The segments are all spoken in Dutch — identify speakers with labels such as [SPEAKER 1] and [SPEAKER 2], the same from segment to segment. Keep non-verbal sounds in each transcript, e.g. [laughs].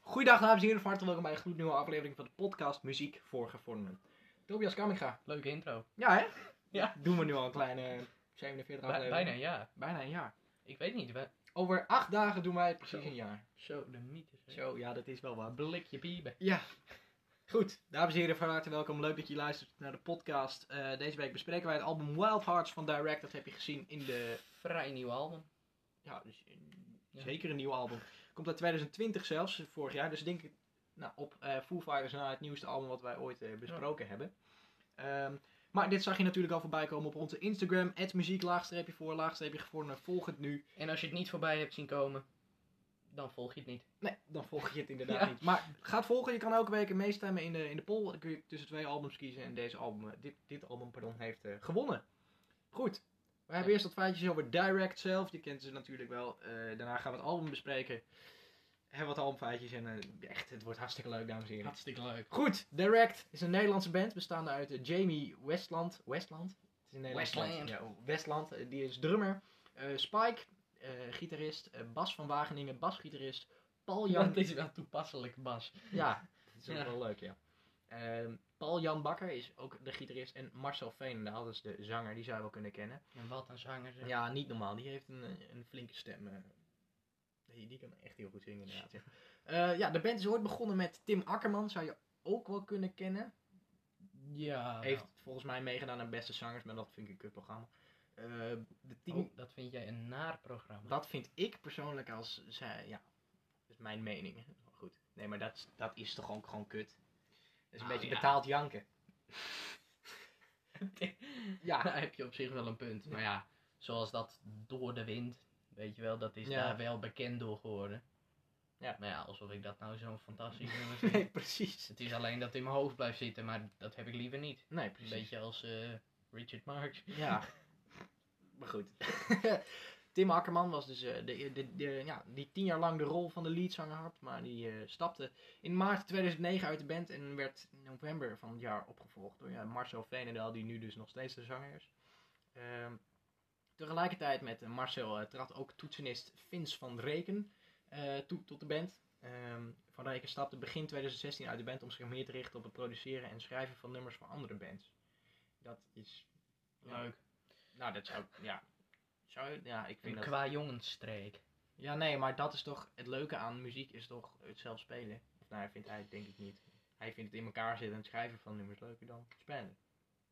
[SPEAKER 1] Goeiedag dames en heren, van harte welkom bij een gloednieuwe aflevering van de podcast Muziek voor Gevormden. Tobias Kamminga.
[SPEAKER 2] Leuke intro.
[SPEAKER 1] Ja hè?
[SPEAKER 2] Ja.
[SPEAKER 1] Doen we nu al een kleine 47
[SPEAKER 2] Bij-
[SPEAKER 1] aflevering.
[SPEAKER 2] bijna, ja.
[SPEAKER 1] Bijna een jaar.
[SPEAKER 2] Ik weet niet. we-
[SPEAKER 1] Over acht dagen doen wij precies
[SPEAKER 2] Zo.
[SPEAKER 1] een jaar.
[SPEAKER 2] Zo, de mythe. zeg.
[SPEAKER 1] Zo, ja dat is wel waar.
[SPEAKER 2] Blikje pieben.
[SPEAKER 1] Ja. Goed, dames en heren, van harte welkom. Leuk dat je luistert naar de podcast. Eh, deze week bespreken wij het album Wild Hearts van Direct. Dat heb je gezien in de...
[SPEAKER 2] Vrij nieuw album.
[SPEAKER 1] Ja, dus in-
[SPEAKER 2] Ja.
[SPEAKER 1] zeker een nieuw album. Komt uit 2020 zelfs, vorig jaar. Dus denk ik nou, op eh Foo Fighters na het nieuwste album wat wij ooit eh, besproken hebben. Ehm, maar dit zag je natuurlijk al voorbij komen op onze Instagram. Het muziek, laagstreepje voor, laagstreepje gevormd. Volg het nu.
[SPEAKER 2] En als je het niet voorbij hebt zien komen, dan volg je het niet.
[SPEAKER 1] Nee, dan volg [laughs] je het inderdaad
[SPEAKER 2] Ja.
[SPEAKER 1] niet. Maar ga het volgen. Je kan elke week meestemmen in de, in de poll. Dan kun je tussen twee albums kiezen. En deze album, eh, dit, dit album pardon, heeft eh, gewonnen. Goed. We hebben
[SPEAKER 2] Ja.
[SPEAKER 1] eerst wat feitjes over Direct zelf. Je kent ze natuurlijk wel. Eh, daarna gaan we het album bespreken. Hebben wat albumfeitjes. En eh, echt, het wordt hartstikke leuk, dames en heren.
[SPEAKER 2] Hartstikke leuk.
[SPEAKER 1] Goed, Direct is een Nederlandse band bestaande uit eh, Jamie Westland. Westland? Het is een Nederlandse band.
[SPEAKER 2] Westland.
[SPEAKER 1] Ja, oh, Westland, eh, die is drummer. Eh, Spike, eh, gitarist. Eh, Bas van Wageningen, basgitarist. Paul Jan...
[SPEAKER 2] Dat is wel toepasselijk, Bas.
[SPEAKER 1] Ja, dat is ook
[SPEAKER 2] Ja.
[SPEAKER 1] wel leuk, ja. Ehm, Paul-Jan Bakker is ook de gitarist. En Marcel Veenendaal, dat is de zanger, die zou je wel kunnen kennen.
[SPEAKER 2] En wat een zanger. zeg.
[SPEAKER 1] Ja, niet normaal. Die heeft een, eh, een flinke stem. eh. Die, die kan echt heel goed zingen, inderdaad. ja. Eh, ja, de band is ooit begonnen met Tim Akkerman. Zou je ook wel kunnen kennen.
[SPEAKER 2] ja nou.
[SPEAKER 1] Heeft volgens mij meegedaan aan Beste Zangers, maar dat vind ik een kutprogramma. Eh, de
[SPEAKER 2] nou.
[SPEAKER 1] team,
[SPEAKER 2] Oh, dat vind jij een naar programma. [laughs]
[SPEAKER 1] dat vind ik persoonlijk als, zij, ja, dat is mijn mening. hè. Maar Goed. Nee, maar dat, is- dat is toch ook gewoon kut. Dat is een
[SPEAKER 2] Nou,
[SPEAKER 1] beetje
[SPEAKER 2] ja.
[SPEAKER 1] betaald janken. Ja,
[SPEAKER 2] Daar heb je op zich wel een punt. Maar ja, zoals dat door de wind, weet je wel, dat is
[SPEAKER 1] Ja.
[SPEAKER 2] daar wel bekend door geworden.
[SPEAKER 1] Ja.
[SPEAKER 2] Maar ja, alsof ik dat nou zo'n fantastisch [laughs] nummer
[SPEAKER 1] [laughs]
[SPEAKER 2] vind.
[SPEAKER 1] nee, precies.
[SPEAKER 2] Het is alleen dat het in mijn hoofd blijft zitten, maar dat heb ik liever niet.
[SPEAKER 1] Nee,
[SPEAKER 2] Een
[SPEAKER 1] precies.
[SPEAKER 2] beetje als eh, Richard Marx.
[SPEAKER 1] Ja. Maar goed. [laughs] Tim Akkerman was dus eh, de, de, de- ja, die tien jaar lang de rol van de leadzanger had. Maar die eh, stapte in maart 2009 uit de band. En werd in november van het jaar opgevolgd door ja, Marcel Veenendaal. Die nu dus nog steeds de zanger is. Ehm, tegelijkertijd met eh, Marcel eh, trad ook toetsenist Vince van Reken eh, toe tot de band. Ehm, van Reken stapte begin 2016 uit de band om zich meer te richten op het produceren en schrijven van nummers voor andere bands. Dat is ja,
[SPEAKER 2] Leuk.
[SPEAKER 1] nou, dat zou ik, ja. Zou je- ja, ik vind
[SPEAKER 2] Een
[SPEAKER 1] dat...
[SPEAKER 2] qua jongensstreek.
[SPEAKER 1] Ja, nee, maar dat is toch... Het leuke aan muziek is toch het zelf spelen. Of nou, hij vindt hij denk ik niet. Hij vindt het in elkaar zitten en het schrijven van nummers leuker dan spelen.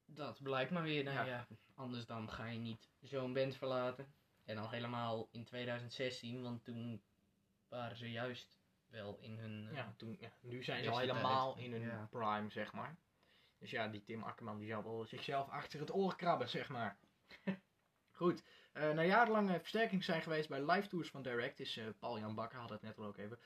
[SPEAKER 2] Dat blijkt maar weer. Nou
[SPEAKER 1] Ja.
[SPEAKER 2] ja. anders dan ga je niet zo'n band verlaten. En al helemaal in 2016, want toen waren ze juist wel in hun... eh,
[SPEAKER 1] Ja, toen, ja, nu zijn ze al
[SPEAKER 2] Is het
[SPEAKER 1] helemaal
[SPEAKER 2] uit?
[SPEAKER 1] in hun
[SPEAKER 2] Ja.
[SPEAKER 1] prime, zeg maar. Dus ja, die Tim Akkerman die zou wel zichzelf achter het oor krabben, zeg maar. [laughs] Goed. Eh na jarenlange versterking zijn geweest bij live tours van Direct, is eh, Paul-Jan Bakker, had het net al ook even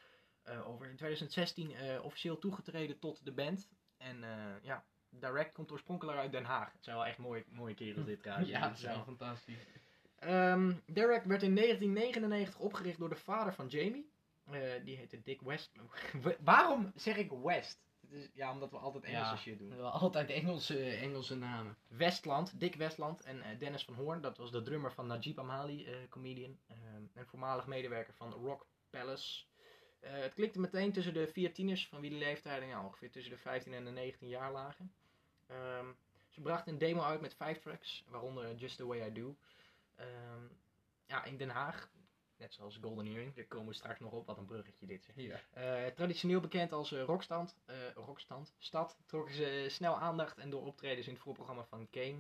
[SPEAKER 1] eh, over. In 2016 eh, officieel toegetreden tot de band. En eh, ja, Direct komt oorspronkelijk uit Den Haag. Het zijn wel echt mooie, mooie kerels
[SPEAKER 2] [laughs]
[SPEAKER 1] dit trouwens.
[SPEAKER 2] ja,
[SPEAKER 1] Dit
[SPEAKER 2] dat is wel fantastisch.
[SPEAKER 1] Ehm Derek werd in 1999 opgericht door de vader van Jamie. Eh, die heette Dick West. [laughs] Waarom zeg ik West? Het is, ja, omdat we altijd Engelse
[SPEAKER 2] Ja.
[SPEAKER 1] shit
[SPEAKER 2] We
[SPEAKER 1] doen.
[SPEAKER 2] hebben altijd Engelse, Engelse namen.
[SPEAKER 1] Westland, Dick Westland en eh, Dennis van Hoorn. Dat was de drummer van Najib Amali, eh, comedian. ehm, en voormalig medewerker van Rock Palace. Eh, het klikte meteen tussen de vier tieners, van wie de leeftijden ja, ongeveer tussen de 15 en de 19 jaar lagen. Ehm, ze brachten een demo uit met vijf tracks, waaronder Just The Way I Do. Ehm, ja, in Den Haag, net zoals Golden Earring, daar komen we straks nog op, wat een bruggetje dit zeg.
[SPEAKER 2] Ja.
[SPEAKER 1] Eh, traditioneel bekend als eh, rockstand, eh, rockstand, stad, trokken ze snel aandacht en door optredens in het voorprogramma van Kane.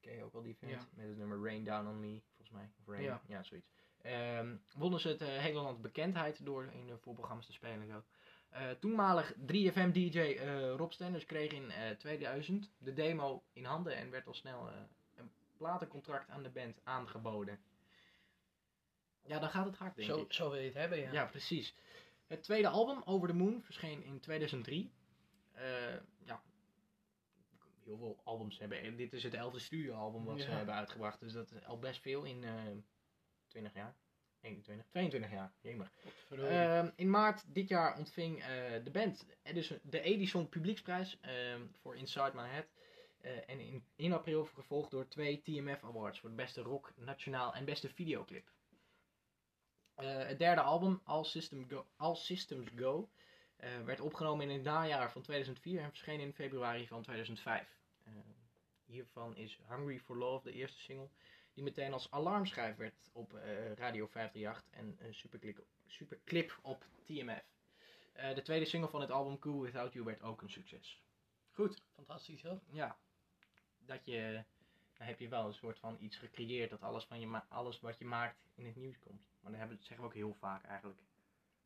[SPEAKER 1] Ken je ook wel die vent?
[SPEAKER 2] Ja.
[SPEAKER 1] Met het nummer Rain Down On Me, volgens mij. Of Rain, ja,
[SPEAKER 2] Ja.
[SPEAKER 1] zoiets. Ehm, wonnen ze het eh, hele land bekendheid door in de voorprogramma's te spelen en zo. Eh, toenmalig 3FM-DJ eh, Rob Stenders kreeg in eh, 2000 de demo in handen en werd al snel eh, een platencontract aan de band aangeboden. Ja, dan gaat het hard, denk ik.
[SPEAKER 2] Zo, zo wil je het hebben, ja.
[SPEAKER 1] Ja, precies. Het tweede album, Over the Moon, verscheen in 2003. Eh, ja, heel veel albums hebben. En dit is het elfde studioalbum wat ze
[SPEAKER 2] Ja.
[SPEAKER 1] hebben uitgebracht. Dus dat is al best veel in eh 20 jaar. 21, 22 jaar, jemig.
[SPEAKER 2] Godverdorie.
[SPEAKER 1] Ehm, in maart dit jaar ontving eh, de band Edison, de Edison Publieksprijs ehm, voor Inside My Head. Eh, en in, in april gevolgd door twee TMF Awards voor de beste rock, nationaal en beste videoclip. Eh, het derde album, All, System Go- All Systems Go, eh, werd opgenomen in het najaar van 2004 en verscheen in februari van 2005. Eh, hiervan is Hungry for Love de eerste single, die meteen als alarmschijf werd op eh, Radio 538 en eh, een superclip, superclip op TMF. Eh, de tweede single van het album Cool Without You werd ook een succes. Goed
[SPEAKER 2] Fantastisch hoor.
[SPEAKER 1] ja, dat je, dan heb je wel een soort van iets gecreëerd dat alles, van je ma- alles wat je maakt in het nieuws komt. Maar dat hebben, dat zeggen we ook heel vaak eigenlijk.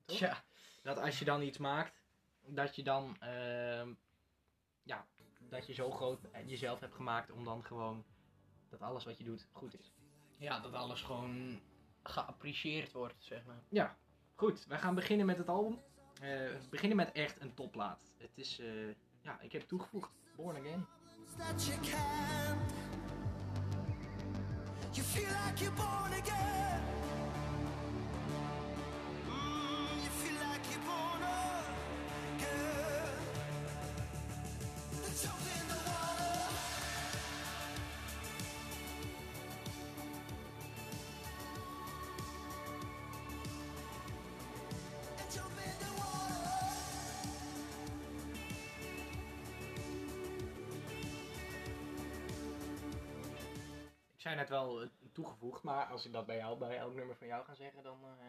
[SPEAKER 1] Toch?
[SPEAKER 2] Tja,
[SPEAKER 1] Dat als je dan iets maakt, dat je dan, ehm, ja, dat je zo groot eh, jezelf hebt gemaakt om dan gewoon dat alles wat je doet goed is.
[SPEAKER 2] ja, dat alles gewoon geapprecieerd wordt, zeg maar.
[SPEAKER 1] Goed, wij gaan beginnen met het album. Eh, we beginnen met echt een topplaat. Het is, eh, ja, ik heb toegevoegd, Born Again.
[SPEAKER 3] that you can't. You feel like you're born again. Mm, you feel like you're born again. The jump in the water. And jump in the water.
[SPEAKER 1] Ik zei net wel eh, toegevoegd, maar als ik dat bij jou, bij elk nummer van jou ga zeggen, dan, eh,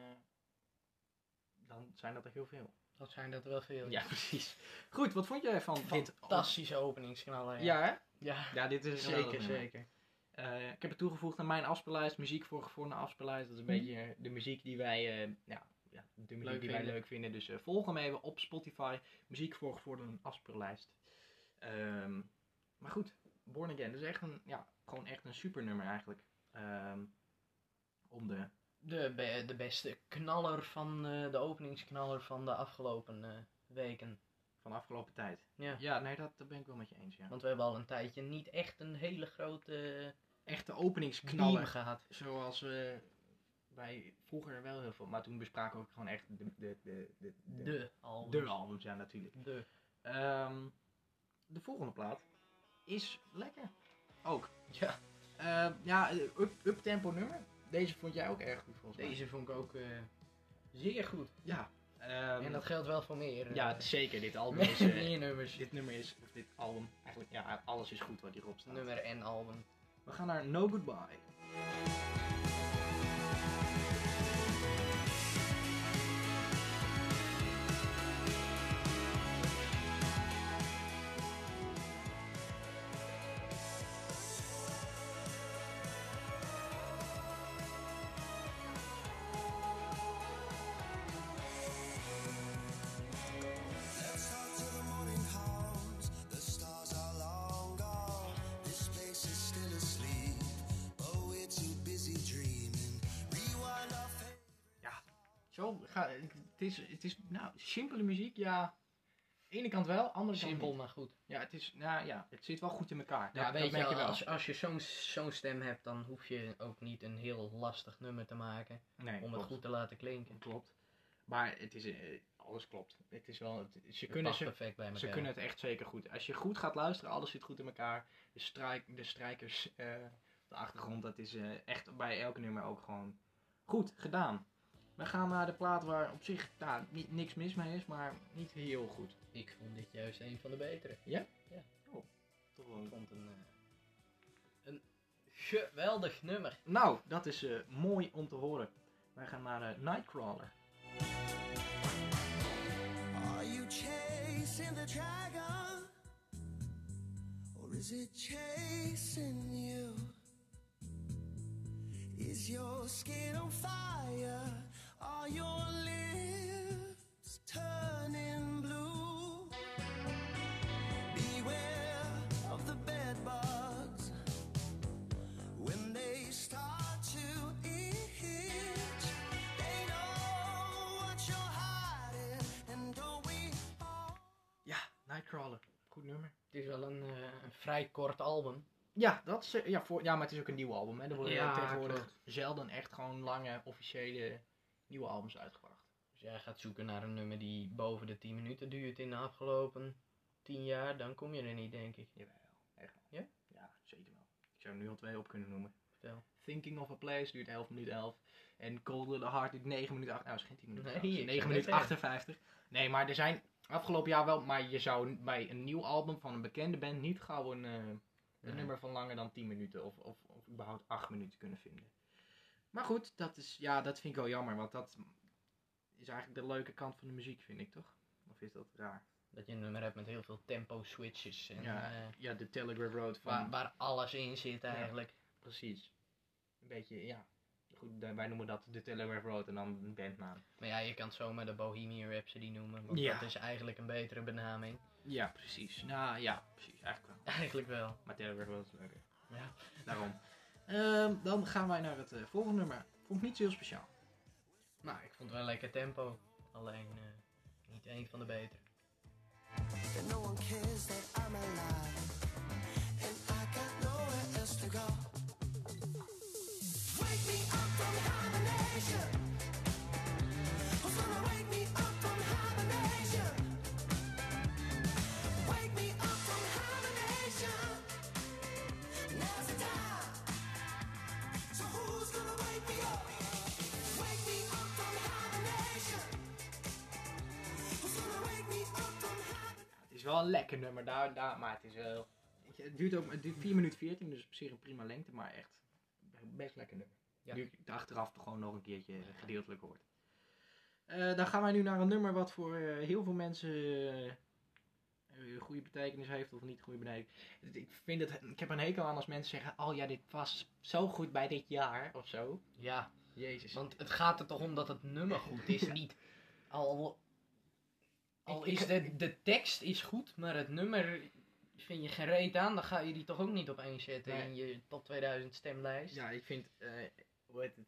[SPEAKER 1] dan zijn dat er heel veel.
[SPEAKER 2] Dat zijn dat wel veel.
[SPEAKER 1] Ja, [laughs] precies. Goed, wat vond jij van dit?
[SPEAKER 2] Fantastische openingsknallen.
[SPEAKER 1] Ja, hè?
[SPEAKER 2] ja.
[SPEAKER 1] Ja, dit is een geweldig
[SPEAKER 2] zeker,
[SPEAKER 1] nummer.
[SPEAKER 2] zeker.
[SPEAKER 1] Eh, ik heb het toegevoegd aan mijn afspeellijst, muziek voor gevonden afspeellijst. Dat is een beetje eh, de muziek die wij, eh, ja, ja, de muziek
[SPEAKER 2] Mhm. Leuk
[SPEAKER 1] die wij
[SPEAKER 2] vinden.
[SPEAKER 1] leuk vinden. Dus eh, volg hem even op Spotify, muziek voor gevonden afspeellijst. Ehm, maar goed, Born Again, dat is echt een, ja, gewoon echt een super nummer eigenlijk. Ehm, om de
[SPEAKER 2] De, be- de beste knaller van eh, de openingsknaller van de afgelopen eh, weken.
[SPEAKER 1] Van de afgelopen tijd.
[SPEAKER 2] Ja.
[SPEAKER 1] Ja, nee, dat, dat ben ik wel met je eens, ja.
[SPEAKER 2] Want we hebben al een tijdje niet echt een hele grote
[SPEAKER 1] Echte
[SPEAKER 2] knallen
[SPEAKER 1] openingsknallen.
[SPEAKER 2] gehad.
[SPEAKER 1] Zoals eh wij vroeger wel heel veel, maar toen bespraken we ook gewoon echt de, de, de, de,
[SPEAKER 2] De,
[SPEAKER 1] de,
[SPEAKER 2] albums.
[SPEAKER 1] de albums, ja natuurlijk.
[SPEAKER 2] De.
[SPEAKER 1] Ehm, de volgende plaat is lekker. Ook.
[SPEAKER 2] Ja,
[SPEAKER 1] Eh, ja, eh, up, uptempo nummer. Deze vond jij ook erg goed volgens mij.
[SPEAKER 2] deze vond ik ook eh, zeer goed.
[SPEAKER 1] Ja. ehm,
[SPEAKER 2] En dat geldt wel voor meer. eh,
[SPEAKER 1] ja, het is zeker. Dit album is... [laughs] eh,
[SPEAKER 2] meer nummers.
[SPEAKER 1] dit nummer is, of dit album, eigenlijk, ja, alles is goed wat hierop staat.
[SPEAKER 2] Nummer en album.
[SPEAKER 1] We gaan naar No Goodbye.
[SPEAKER 3] Let's talk till the morning comes. The stars are long gone. This place is still asleep. But we're too busy dreaming. Rewind our fa-
[SPEAKER 1] Zo, ga, het, is, het is, nou, simpele muziek, ja. Aan de ene kant wel, aan de andere kant
[SPEAKER 2] Simpel,
[SPEAKER 1] niet.
[SPEAKER 2] maar goed.
[SPEAKER 1] Ja, het is, nou ja, het zit wel goed in elkaar.
[SPEAKER 2] Ja,
[SPEAKER 1] dat,
[SPEAKER 2] weet
[SPEAKER 1] dat
[SPEAKER 2] je,
[SPEAKER 1] merk je wel.
[SPEAKER 2] als, als je zo'n zo'n stem hebt, dan hoef je ook niet een heel lastig nummer te maken
[SPEAKER 1] nee,
[SPEAKER 2] om het goed te laten klinken.
[SPEAKER 1] Klopt. Maar het is, eh, alles klopt. Het is wel, het- ze,
[SPEAKER 2] Het
[SPEAKER 1] kunnen,
[SPEAKER 2] past
[SPEAKER 1] ze,
[SPEAKER 2] perfect bij elkaar.
[SPEAKER 1] ze kunnen het echt zeker goed. Als je goed gaat luisteren, alles zit goed in elkaar. De, strijk, de strijkers, eh, op de achtergrond, dat is eh, echt bij elk nummer ook gewoon goed gedaan. We gaan naar de plaat waar op zich nou, ni- niks mis mee is, maar niet heel goed.
[SPEAKER 2] Ik vond dit juist een van de betere.
[SPEAKER 1] Toch wel
[SPEAKER 2] Ik vond een, eh, een geweldig nummer.
[SPEAKER 1] Nou, dat is eh, mooi om te horen. Wij gaan naar eh, Nightcrawler.
[SPEAKER 3] Are you chasing the dragon? Or is it chasing you? Is your skin on fire? Are your lips turning blue? Beware of the bed bugs when they start to itch. They know what you're hiding, and don't we all?
[SPEAKER 1] Ja, Nightcrawler. Goed nummer.
[SPEAKER 2] Het is wel een, eh, een vrij kort album.
[SPEAKER 1] Ja, dat is, eh, ja, voor, ja, maar het is ook een nieuw album. Hè. Er worden
[SPEAKER 2] Ja,
[SPEAKER 1] tegenwoordig
[SPEAKER 2] klopt.
[SPEAKER 1] zelden echt gewoon lange, officiële nieuwe albums uitgebracht.
[SPEAKER 2] Dus jij gaat zoeken naar een nummer die boven de 10 minuten duurt in de afgelopen 10 jaar, dan kom je er niet, denk ik.
[SPEAKER 1] Jawel. Echt wel.
[SPEAKER 2] Ja?
[SPEAKER 1] Ja, zeker wel. Ik zou er nu al twee op kunnen noemen.
[SPEAKER 2] Vertel.
[SPEAKER 1] Thinking of a Place duurt 11 minuten 11. En Colder the Heart duurt 9 minuten 8. Nou, is geen 10 minuten.
[SPEAKER 2] Nee,
[SPEAKER 1] trouwens.
[SPEAKER 2] ik
[SPEAKER 1] 9
[SPEAKER 2] zou net
[SPEAKER 1] minuten 58. Nee, maar er zijn afgelopen jaar wel. Maar je zou bij een nieuw album van een bekende band niet gauw een, eh, een
[SPEAKER 2] Nee.
[SPEAKER 1] nummer van langer dan 10 minuten. Of, of, of überhaupt 8 minuten kunnen vinden. Maar goed, dat, is, ja, dat vind ik wel jammer. Want dat is eigenlijk de leuke kant van de muziek, vind ik toch? Of is dat raar?
[SPEAKER 2] Dat je een nummer hebt met heel veel tempo switches. En,
[SPEAKER 1] Ja.
[SPEAKER 2] eh,
[SPEAKER 1] Ja, de Telegraph Road van...
[SPEAKER 2] waar, waar alles in zit eigenlijk.
[SPEAKER 1] Precies. Een beetje, ja. Goed, da- wij noemen dat de Telegraph Road en dan een bandnaam.
[SPEAKER 2] Maar ja, je kan het zomaar de Bohemian Rhapsody noemen. Want
[SPEAKER 1] Ja.
[SPEAKER 2] dat is eigenlijk een betere benaming. [laughs]
[SPEAKER 1] Ja, precies. Nou ja, precies. Eigenlijk wel.
[SPEAKER 2] Eigenlijk wel.
[SPEAKER 1] Maar Telegraph Road is leuker.
[SPEAKER 2] Ja.
[SPEAKER 1] Daarom. Ehm, dan gaan wij naar het eh, volgende nummer. Vond ik niet zo heel speciaal.
[SPEAKER 2] Nou, ik vond het wel lekker tempo. Alleen eh, niet één van de betere.
[SPEAKER 3] That no one cares that I'm alive. And I got nowhere else to go. Wake me up from hibernation. Who's gonna wake me up from hibernation? Wake me up from hibernation. Now's the time. So who's gonna wake me up? Wake me up from hibernation. Who's gonna wake me up from hibernation?
[SPEAKER 1] Het is wel een lekker nummer, daar, daar, maar het is wel... Weet je, Het duurt, ook, het duurt 4 minuten 14, dus op zich een prima lengte, maar echt best lekker nummer.
[SPEAKER 2] Ja.
[SPEAKER 1] Nu ik het achteraf toch gewoon nog een keertje gedeeltelijk hoort. Eh, dan gaan wij nu naar een nummer wat voor eh, heel veel mensen eh, eh, goede betekenis heeft of niet goede betekenis. Het- Ik, vind het, ik heb er een hekel aan als mensen zeggen, oh ja, dit was zo goed bij dit jaar of zo.
[SPEAKER 2] Ja,
[SPEAKER 1] Jezus.
[SPEAKER 2] want het gaat er toch om dat het nummer goed is. Niet al, al
[SPEAKER 1] Ik- ik-
[SPEAKER 2] is de, de tekst is goed, maar het nummer vind je geen reet aan. Dan ga je die toch ook niet op één zetten
[SPEAKER 1] Nee.
[SPEAKER 2] in je top 2000 stemlijst.
[SPEAKER 1] ja, ik vind, eh, hoe heet het,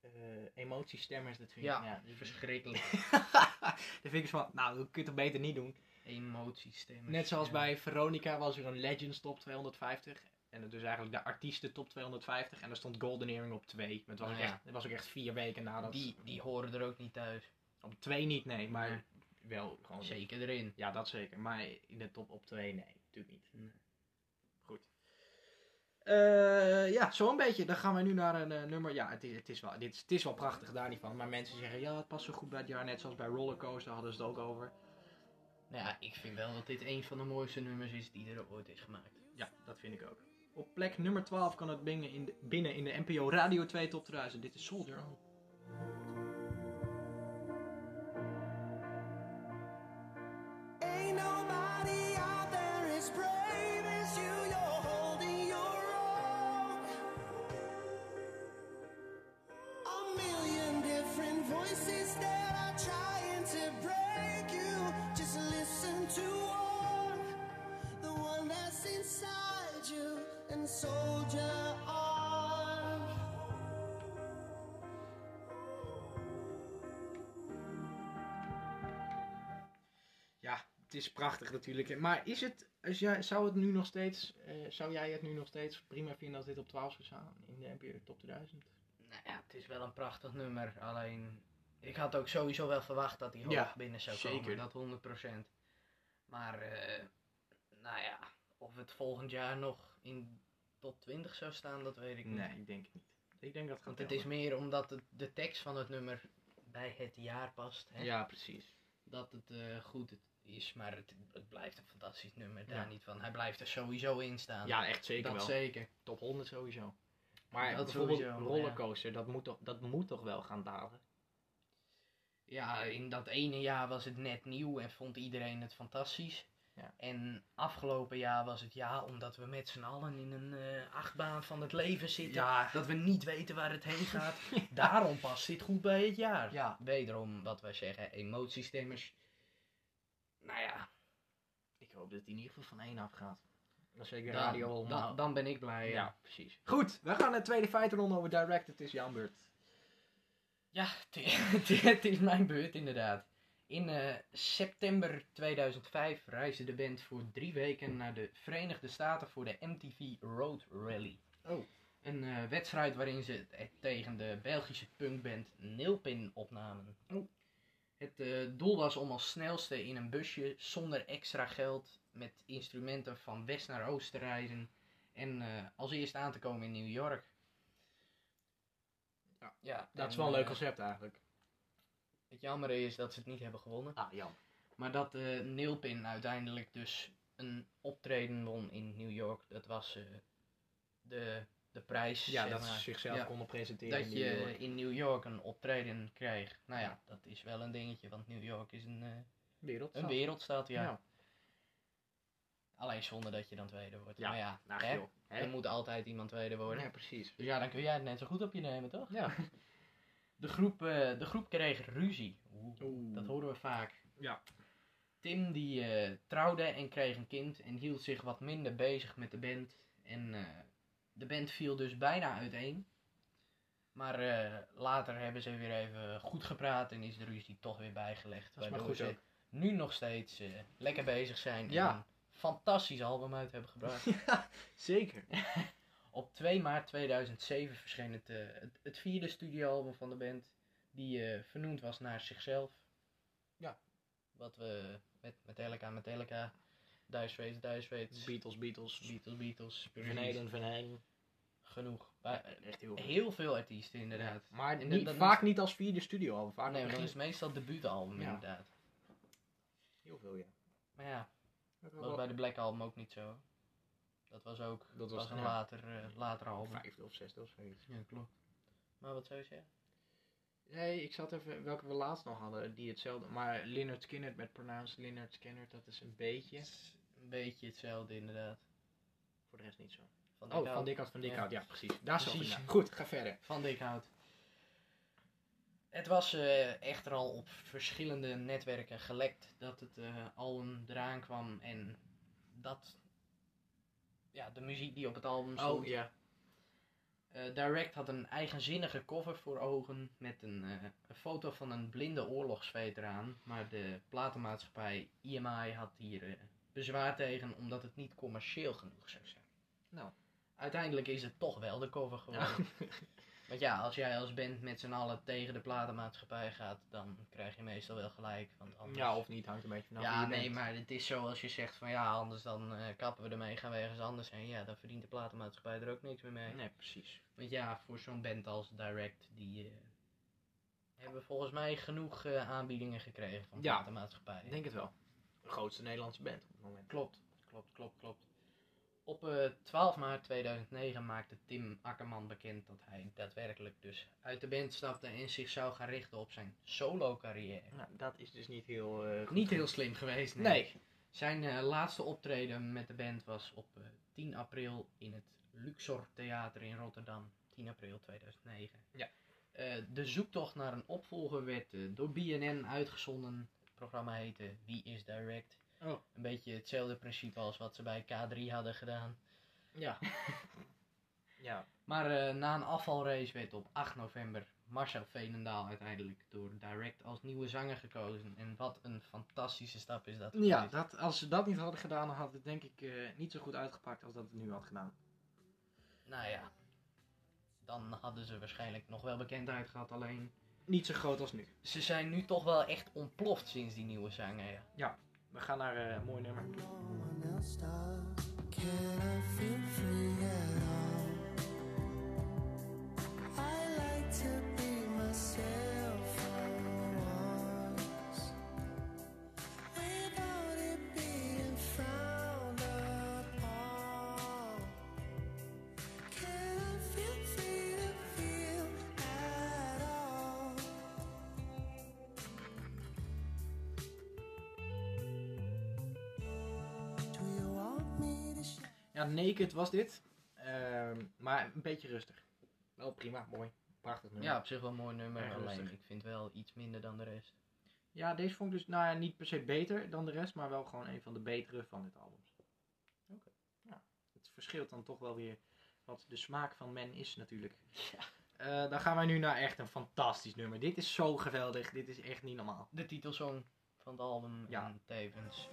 [SPEAKER 1] Eh, emotiestemmers, dat vind
[SPEAKER 2] Ja,
[SPEAKER 1] ik... Ja,
[SPEAKER 2] Verschrikkelijk.
[SPEAKER 1] [laughs] dat vind ik zo van, nou, dat kun je toch beter niet doen.
[SPEAKER 2] [laughs] Emotiestemmen.
[SPEAKER 1] Net zoals
[SPEAKER 2] Mm, Ja.
[SPEAKER 1] bij Veronica was er een Legends top 250. En dus eigenlijk de artiesten top 250. En daar stond Golden Earring op 2. Maar het was,
[SPEAKER 2] Nou
[SPEAKER 1] ook
[SPEAKER 2] ja.
[SPEAKER 1] echt, het was ook echt vier weken nadat.
[SPEAKER 2] Die, die horen er ook niet thuis.
[SPEAKER 1] Op 2 niet, nee. Maar
[SPEAKER 2] Nee.
[SPEAKER 1] wel gewoon.
[SPEAKER 2] Zeker erin.
[SPEAKER 1] Ja, dat zeker. Maar in de top op 2, nee. Natuurlijk niet.
[SPEAKER 2] Nee.
[SPEAKER 1] Goed. Eh, ja, zo'n beetje. Dan gaan we nu naar een eh, nummer. Ja, het is, het, is wel, dit is, het is wel prachtig, daar niet van. Maar mensen zeggen, ja, het past zo goed bij het jaar. Net zoals bij Rollercoaster hadden ze het ook over.
[SPEAKER 2] Nou ja, ik vind wel dat dit een van de mooiste nummers is die er ooit is gemaakt.
[SPEAKER 1] Ja, dat vind ik ook. Op plek nummer 12 kan het binnen in de, binnen in de NPO Radio 2 Top 1000. Dit is Soldier On.
[SPEAKER 3] Ain't nobody out there as brave as you. You're holding your own. A million different voices that are trying to break you. Just listen to one, the one that's inside you, and soldier on.
[SPEAKER 1] Ja, het is prachtig natuurlijk. Maar is het, als jij, zou, het nu nog steeds, eh, zou jij het nu nog steeds prima vinden als dit op 12 zou staan in de NPO Top 2000?
[SPEAKER 2] Nou ja, het is wel een prachtig nummer. Alleen, ik had ook sowieso wel verwacht dat hij hoog
[SPEAKER 1] Ja,
[SPEAKER 2] binnen zou
[SPEAKER 1] zeker.
[SPEAKER 2] komen. Dat 100%. Maar, eh, nou ja, of het volgend jaar nog in top 20 zou staan, dat weet ik niet.
[SPEAKER 1] ik denk het niet. Ik denk dat het
[SPEAKER 2] Want
[SPEAKER 1] gaat
[SPEAKER 2] het is
[SPEAKER 1] helpen.
[SPEAKER 2] meer omdat het, de tekst van het nummer bij het jaar past. Hè?
[SPEAKER 1] Ja, precies.
[SPEAKER 2] Dat het eh, goed is, maar het, het blijft een fantastisch nummer. Daar
[SPEAKER 1] Ja.
[SPEAKER 2] niet van. Hij blijft er sowieso in staan.
[SPEAKER 1] Ja, echt zeker
[SPEAKER 2] dat
[SPEAKER 1] wel.
[SPEAKER 2] zeker.
[SPEAKER 1] Top 100 sowieso. Maar
[SPEAKER 2] Dat
[SPEAKER 1] bijvoorbeeld
[SPEAKER 2] sowieso,
[SPEAKER 1] Rollercoaster, dat, moet toch, dat moet toch wel gaan dalen?
[SPEAKER 2] Ja, in dat ene jaar was het net nieuw en vond iedereen het fantastisch.
[SPEAKER 1] Ja.
[SPEAKER 2] En afgelopen jaar was het ja, omdat we met z'n allen in een eh, achtbaan van het leven zitten.
[SPEAKER 1] Ja,
[SPEAKER 2] Dat we niet weten waar het heen
[SPEAKER 1] [laughs]
[SPEAKER 2] gaat. Daarom past dit goed bij het jaar.
[SPEAKER 1] ja.
[SPEAKER 2] Wederom wat wij zeggen, emotiestemmers. Nou ja,
[SPEAKER 1] Ik hoop dat het in ieder geval van één afgaat. Dan zeker
[SPEAKER 2] dan,
[SPEAKER 1] radio
[SPEAKER 2] dan,
[SPEAKER 1] allemaal.
[SPEAKER 2] dan ben ik blij. eh.
[SPEAKER 1] Ja, precies. Goed, we gaan naar de tweede feitenronde over Direct. Het is jouw beurt.
[SPEAKER 2] Ja, [laughs] het i- het i- het is mijn beurt inderdaad. In eh, september 2005 reisde de band voor drie weken naar de Verenigde Staten voor de MTV Road Rally.
[SPEAKER 1] Oh.
[SPEAKER 2] Een eh, wedstrijd waarin ze het het tegen de Belgische punkband Nilpin opnamen.
[SPEAKER 1] Oh.
[SPEAKER 2] Het eh, doel was om als snelste in een busje zonder extra geld met instrumenten van west naar oost te reizen en eh, als eerst aan te komen in New York.
[SPEAKER 1] Ja.
[SPEAKER 2] ja
[SPEAKER 1] Dat
[SPEAKER 2] en,
[SPEAKER 1] is wel een leuk
[SPEAKER 2] eh,
[SPEAKER 1] concept eigenlijk.
[SPEAKER 2] Het jammer is dat ze het niet hebben gewonnen.
[SPEAKER 1] Ah, Jan.
[SPEAKER 2] Maar dat eh Neilpin uiteindelijk dus een optreden won in New York, dat was eh, de, de prijs.
[SPEAKER 1] Ja,
[SPEAKER 2] zeg
[SPEAKER 1] dat
[SPEAKER 2] maar.
[SPEAKER 1] ze zichzelf
[SPEAKER 2] Ja.
[SPEAKER 1] konden presenteren.
[SPEAKER 2] dat
[SPEAKER 1] in
[SPEAKER 2] je
[SPEAKER 1] New York.
[SPEAKER 2] in New York een optreden kreeg. Nou ja, dat is wel een dingetje, want New York is een, eh,
[SPEAKER 1] wereldstad.
[SPEAKER 2] een wereldstad, ja.
[SPEAKER 1] Ja.
[SPEAKER 2] Alleen zonder dat je dan tweede wordt.
[SPEAKER 1] Ja,
[SPEAKER 2] maar ja,
[SPEAKER 1] Nou,
[SPEAKER 2] hè?
[SPEAKER 1] joh. Hè?
[SPEAKER 2] er moet altijd iemand tweede worden.
[SPEAKER 1] Ja, precies.
[SPEAKER 2] Dus ja, dan kun jij het net zo goed op je nemen, toch?
[SPEAKER 1] Ja.
[SPEAKER 2] [laughs] De groep, eh, de groep kreeg ruzie. Oeh,
[SPEAKER 1] Oeh.
[SPEAKER 2] Dat horen we vaak.
[SPEAKER 1] Mm. Ja.
[SPEAKER 2] Tim die eh, trouwde en kreeg een kind en hield zich wat minder bezig met de band. En eh, de band viel dus bijna uiteen. Maar eh, later hebben ze weer even goed gepraat en is de ruzie toch weer bijgelegd.
[SPEAKER 1] Dat is maar
[SPEAKER 2] waardoor
[SPEAKER 1] goed
[SPEAKER 2] ze
[SPEAKER 1] ook.
[SPEAKER 2] nu nog steeds eh, lekker bezig zijn
[SPEAKER 1] Ja.
[SPEAKER 2] en een fantastisch album uit hebben gebracht.
[SPEAKER 1] Zeker.
[SPEAKER 2] Op 2 maart 2007 verscheen het, eh, het, het vierde studioalbum van de band, die eh, vernoemd was naar zichzelf.
[SPEAKER 1] Ja.
[SPEAKER 2] Wat we met Metallica, Metallica, Dire Straits, Dire
[SPEAKER 1] [laughs]
[SPEAKER 2] Straits,
[SPEAKER 1] Beatles, Beatles.
[SPEAKER 2] Beatles, Beatles,
[SPEAKER 1] Van
[SPEAKER 2] precies.
[SPEAKER 1] Halen, Van Halen.
[SPEAKER 2] Genoeg. Bij-
[SPEAKER 1] Echt heel goed.
[SPEAKER 2] heel veel artiesten inderdaad.
[SPEAKER 1] Ja, Maar
[SPEAKER 2] En
[SPEAKER 1] niet-
[SPEAKER 2] dat- dat
[SPEAKER 1] vaak niet als vierde studio al. Vaak
[SPEAKER 2] nee, maar dat
[SPEAKER 1] begin-
[SPEAKER 2] is meestal het debuutalbum
[SPEAKER 1] Ja.
[SPEAKER 2] inderdaad.
[SPEAKER 1] heel veel, ja.
[SPEAKER 2] Maar ja,
[SPEAKER 1] Dat
[SPEAKER 2] was bij de Black Album ook niet zo. Dat was ook
[SPEAKER 1] Dat was-
[SPEAKER 2] een
[SPEAKER 1] ja.
[SPEAKER 2] later, eh, later album.
[SPEAKER 1] vijfde of zesde of zoiets.
[SPEAKER 2] Ja, klopt. Maar wat zou je zeggen?
[SPEAKER 1] Nee, ik zat even welke we laatst nog hadden, die hetzelfde. Maar Leonard Skinner met pronounced Leonard Skinner, dat is een beetje.
[SPEAKER 2] Het is Een beetje hetzelfde inderdaad.
[SPEAKER 1] Voor de rest niet zo.
[SPEAKER 2] Van
[SPEAKER 1] Oh,
[SPEAKER 2] Dijk
[SPEAKER 1] van die kant, van die
[SPEAKER 2] Ja.
[SPEAKER 1] kant. Ja, precies. Oh, Daar zat ik
[SPEAKER 2] Precies.
[SPEAKER 1] naar. Goed, ga verder.
[SPEAKER 2] Van Dikhout. Het was eh, echter al op verschillende netwerken gelekt dat het eh, album eraan kwam en dat ja, de muziek die op het album stond.
[SPEAKER 1] Oh, ja.
[SPEAKER 2] Eh, Direct had een eigenzinnige cover voor ogen met een, eh, een foto van een blinde oorlogsveteraan, maar de platenmaatschappij EMI had hier eh, bezwaar tegen omdat het niet commercieel genoeg zou zijn.
[SPEAKER 1] Nou.
[SPEAKER 2] Uiteindelijk is het toch wel de cover geworden. [laughs] Want ja, als jij als band met z'n allen tegen de platenmaatschappij gaat, dan krijg je meestal wel gelijk. Want anders...
[SPEAKER 1] Ja, of niet, hangt een beetje vanaf
[SPEAKER 2] ja
[SPEAKER 1] wie je
[SPEAKER 2] nee,
[SPEAKER 1] bent.
[SPEAKER 2] maar het is zo als je zegt van ja, anders dan eh, kappen we ermee, gaan we ergens anders heen. Ja, dan verdient de platenmaatschappij er ook niks meer mee.
[SPEAKER 1] Nee, precies.
[SPEAKER 2] Want ja, voor zo'n band als Direct, die eh, hebben volgens mij genoeg eh, aanbiedingen gekregen van de
[SPEAKER 1] Ja.
[SPEAKER 2] platenmaatschappij.
[SPEAKER 1] Ik denk het wel. De grootste Nederlandse band op het moment.
[SPEAKER 2] Klopt, klopt, klopt, klopt. Op eh, 12 maart 2009 maakte Tim Akkerman bekend dat hij daadwerkelijk dus uit de band stapte en zich zou gaan richten op zijn solo carrière.
[SPEAKER 1] Nou, dat is dus niet heel... eh, goed.
[SPEAKER 2] Niet heel slim geweest, nee.
[SPEAKER 1] Nee.
[SPEAKER 2] Zijn eh, laatste optreden met de band was op eh, 10 april in het Luxor Theater in Rotterdam. 10 april 2009.
[SPEAKER 1] Ja.
[SPEAKER 2] Eh, de zoektocht naar een opvolger werd eh, door BNN uitgezonden. Het programma heette Wie is Direct.
[SPEAKER 1] Oh.
[SPEAKER 2] Een beetje hetzelfde principe als wat ze bij K3 hadden gedaan.
[SPEAKER 1] Ja. ja.
[SPEAKER 2] Maar eh, na een afvalrace werd op 8 november Marcel Veenendaal uiteindelijk door Direct als nieuwe zanger gekozen. En wat een fantastische stap is dat.
[SPEAKER 1] Ja,
[SPEAKER 2] geweest.
[SPEAKER 1] dat, als ze dat niet hadden gedaan, dan had het denk ik eh, niet zo goed uitgepakt als dat het nu had gedaan.
[SPEAKER 2] Nou ja, dan hadden ze waarschijnlijk nog wel bekendheid gehad. Alleen,
[SPEAKER 1] Niet zo groot als nu.
[SPEAKER 2] ze zijn nu toch wel echt ontploft sinds die nieuwe zanger. Ja.
[SPEAKER 1] We gaan naar eh, een mooi nummer.
[SPEAKER 3] No one else does. Can I feel free at all? I like to be myself for once, without it being frowned upon. Can I feel free to feel at all? Do you want me to shine?
[SPEAKER 1] Ja, Naked was dit. Ehm, maar een beetje rustig. Wel prima, mooi. Prachtig nummer.
[SPEAKER 2] ja, op zich wel een mooi nummer.
[SPEAKER 1] Erg
[SPEAKER 2] alleen,
[SPEAKER 1] rustig.
[SPEAKER 2] ik vind wel iets minder dan de rest.
[SPEAKER 1] Ja, deze vond ik dus nou ja, niet per se beter dan de rest, maar wel gewoon een van de betere van dit album. Oké. Ja. Het verschilt dan toch wel weer wat de smaak van men is natuurlijk. Eh, dan gaan wij nu naar echt een fantastisch nummer. Dit is zo geweldig. Dit is echt niet normaal.
[SPEAKER 2] De titelsong van het album
[SPEAKER 1] Ja.
[SPEAKER 2] en tevens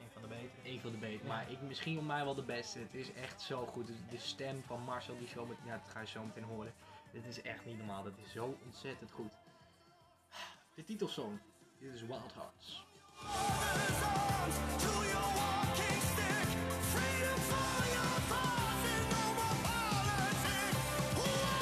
[SPEAKER 2] een van de betere.
[SPEAKER 1] Een van de betere, maar ik, misschien voor mij wel de beste. Het is echt zo goed. De, de stem van Marcel, die zo met, ja, dat ga je zo meteen horen. Dit is echt niet normaal. Dat is zo ontzettend goed. Ah, De titelsong. Dit is Wild Hearts.
[SPEAKER 3] To your walking stick, freedom for your thoughts and no more politics. Wild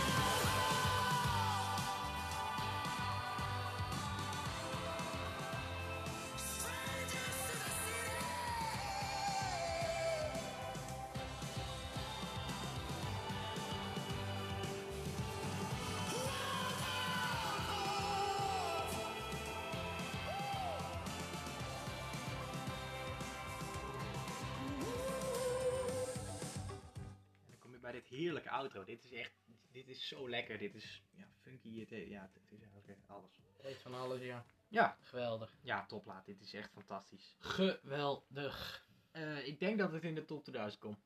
[SPEAKER 1] heerlijke outro. Dit is echt, dit is zo lekker. Dit is ja, funky. Het, ja, het het is eigenlijk alles.
[SPEAKER 2] Weet van alles, ja.
[SPEAKER 1] Ja,
[SPEAKER 2] Geweldig.
[SPEAKER 1] ja, toplaat. Dit is echt fantastisch.
[SPEAKER 2] Geweldig.
[SPEAKER 1] Eh, ik denk dat het in de top 2000 komt.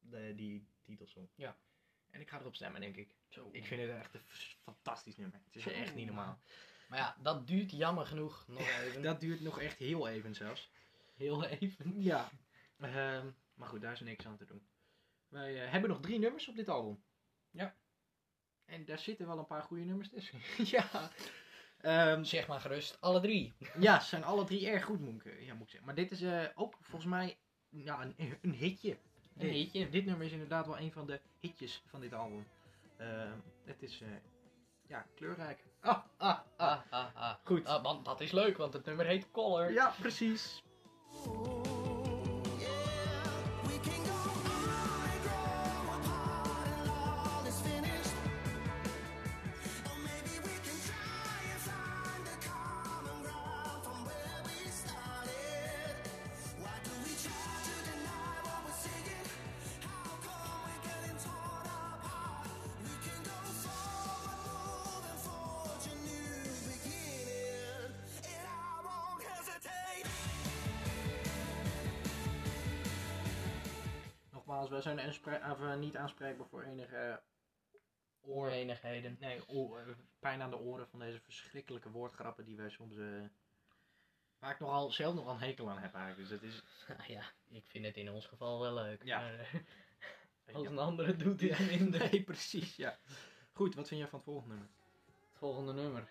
[SPEAKER 1] De, die titelsong.
[SPEAKER 2] Ja.
[SPEAKER 1] En ik ga erop stemmen, denk ik.
[SPEAKER 2] Zo.
[SPEAKER 1] Ik vind het echt een f- fantastisch nummer. Het is
[SPEAKER 2] Zo.
[SPEAKER 1] echt niet normaal.
[SPEAKER 2] Maar ja, dat duurt jammer genoeg nog even.
[SPEAKER 1] Dat duurt nog echt heel even zelfs.
[SPEAKER 2] Heel even.
[SPEAKER 1] Ja. Ehm, maar goed, daar is niks aan te doen. Wij eh, hebben nog drie nummers op dit album.
[SPEAKER 2] Ja.
[SPEAKER 1] En daar zitten wel een paar goede nummers tussen. [laughs] ja. Ehm,
[SPEAKER 2] Zeg maar gerust, alle drie.
[SPEAKER 1] ja, ze zijn alle drie erg goed, moet ik, eh, ja, moet ik zeggen. Maar dit is eh, ook volgens mij ja, een, een hitje.
[SPEAKER 2] Een
[SPEAKER 1] Dit-
[SPEAKER 2] hitje.
[SPEAKER 1] Dit nummer is inderdaad wel een van de hitjes van dit album. Ehm, het is eh, ja, kleurrijk. Ah, ah, ah.
[SPEAKER 2] Ah, ah, ah.
[SPEAKER 1] Goed.
[SPEAKER 2] Ah, want dat is leuk, want het nummer heet Color.
[SPEAKER 1] Ja, precies.
[SPEAKER 3] We can go on and grow apart until all is finished. Or maybe we can try and find a common ground from where we started. Why do we try to deny what we're seeing? How come we're getting torn apart? We can go forward, move and forge a new beginning, and I won't hesitate.
[SPEAKER 1] Nogmaals, wij zijn aanspre- of, eh, niet aanspreekbaar voor enige eh,
[SPEAKER 2] Onenigheden.
[SPEAKER 1] Nee, o- eh, pijn aan de oren van deze verschrikkelijke woordgrappen die wij soms. eh, waar ik nogal zelf nog een hekel aan heb eigenlijk. Dus dat is.
[SPEAKER 2] Ah, ja, ik vind het in ons geval wel leuk.
[SPEAKER 1] Ja.
[SPEAKER 2] Maar, eh, als een andere doet dit minder.
[SPEAKER 1] [laughs] Nee, precies, ja. Goed, wat vind jij van het volgende nummer?
[SPEAKER 2] [laughs] Het volgende nummer.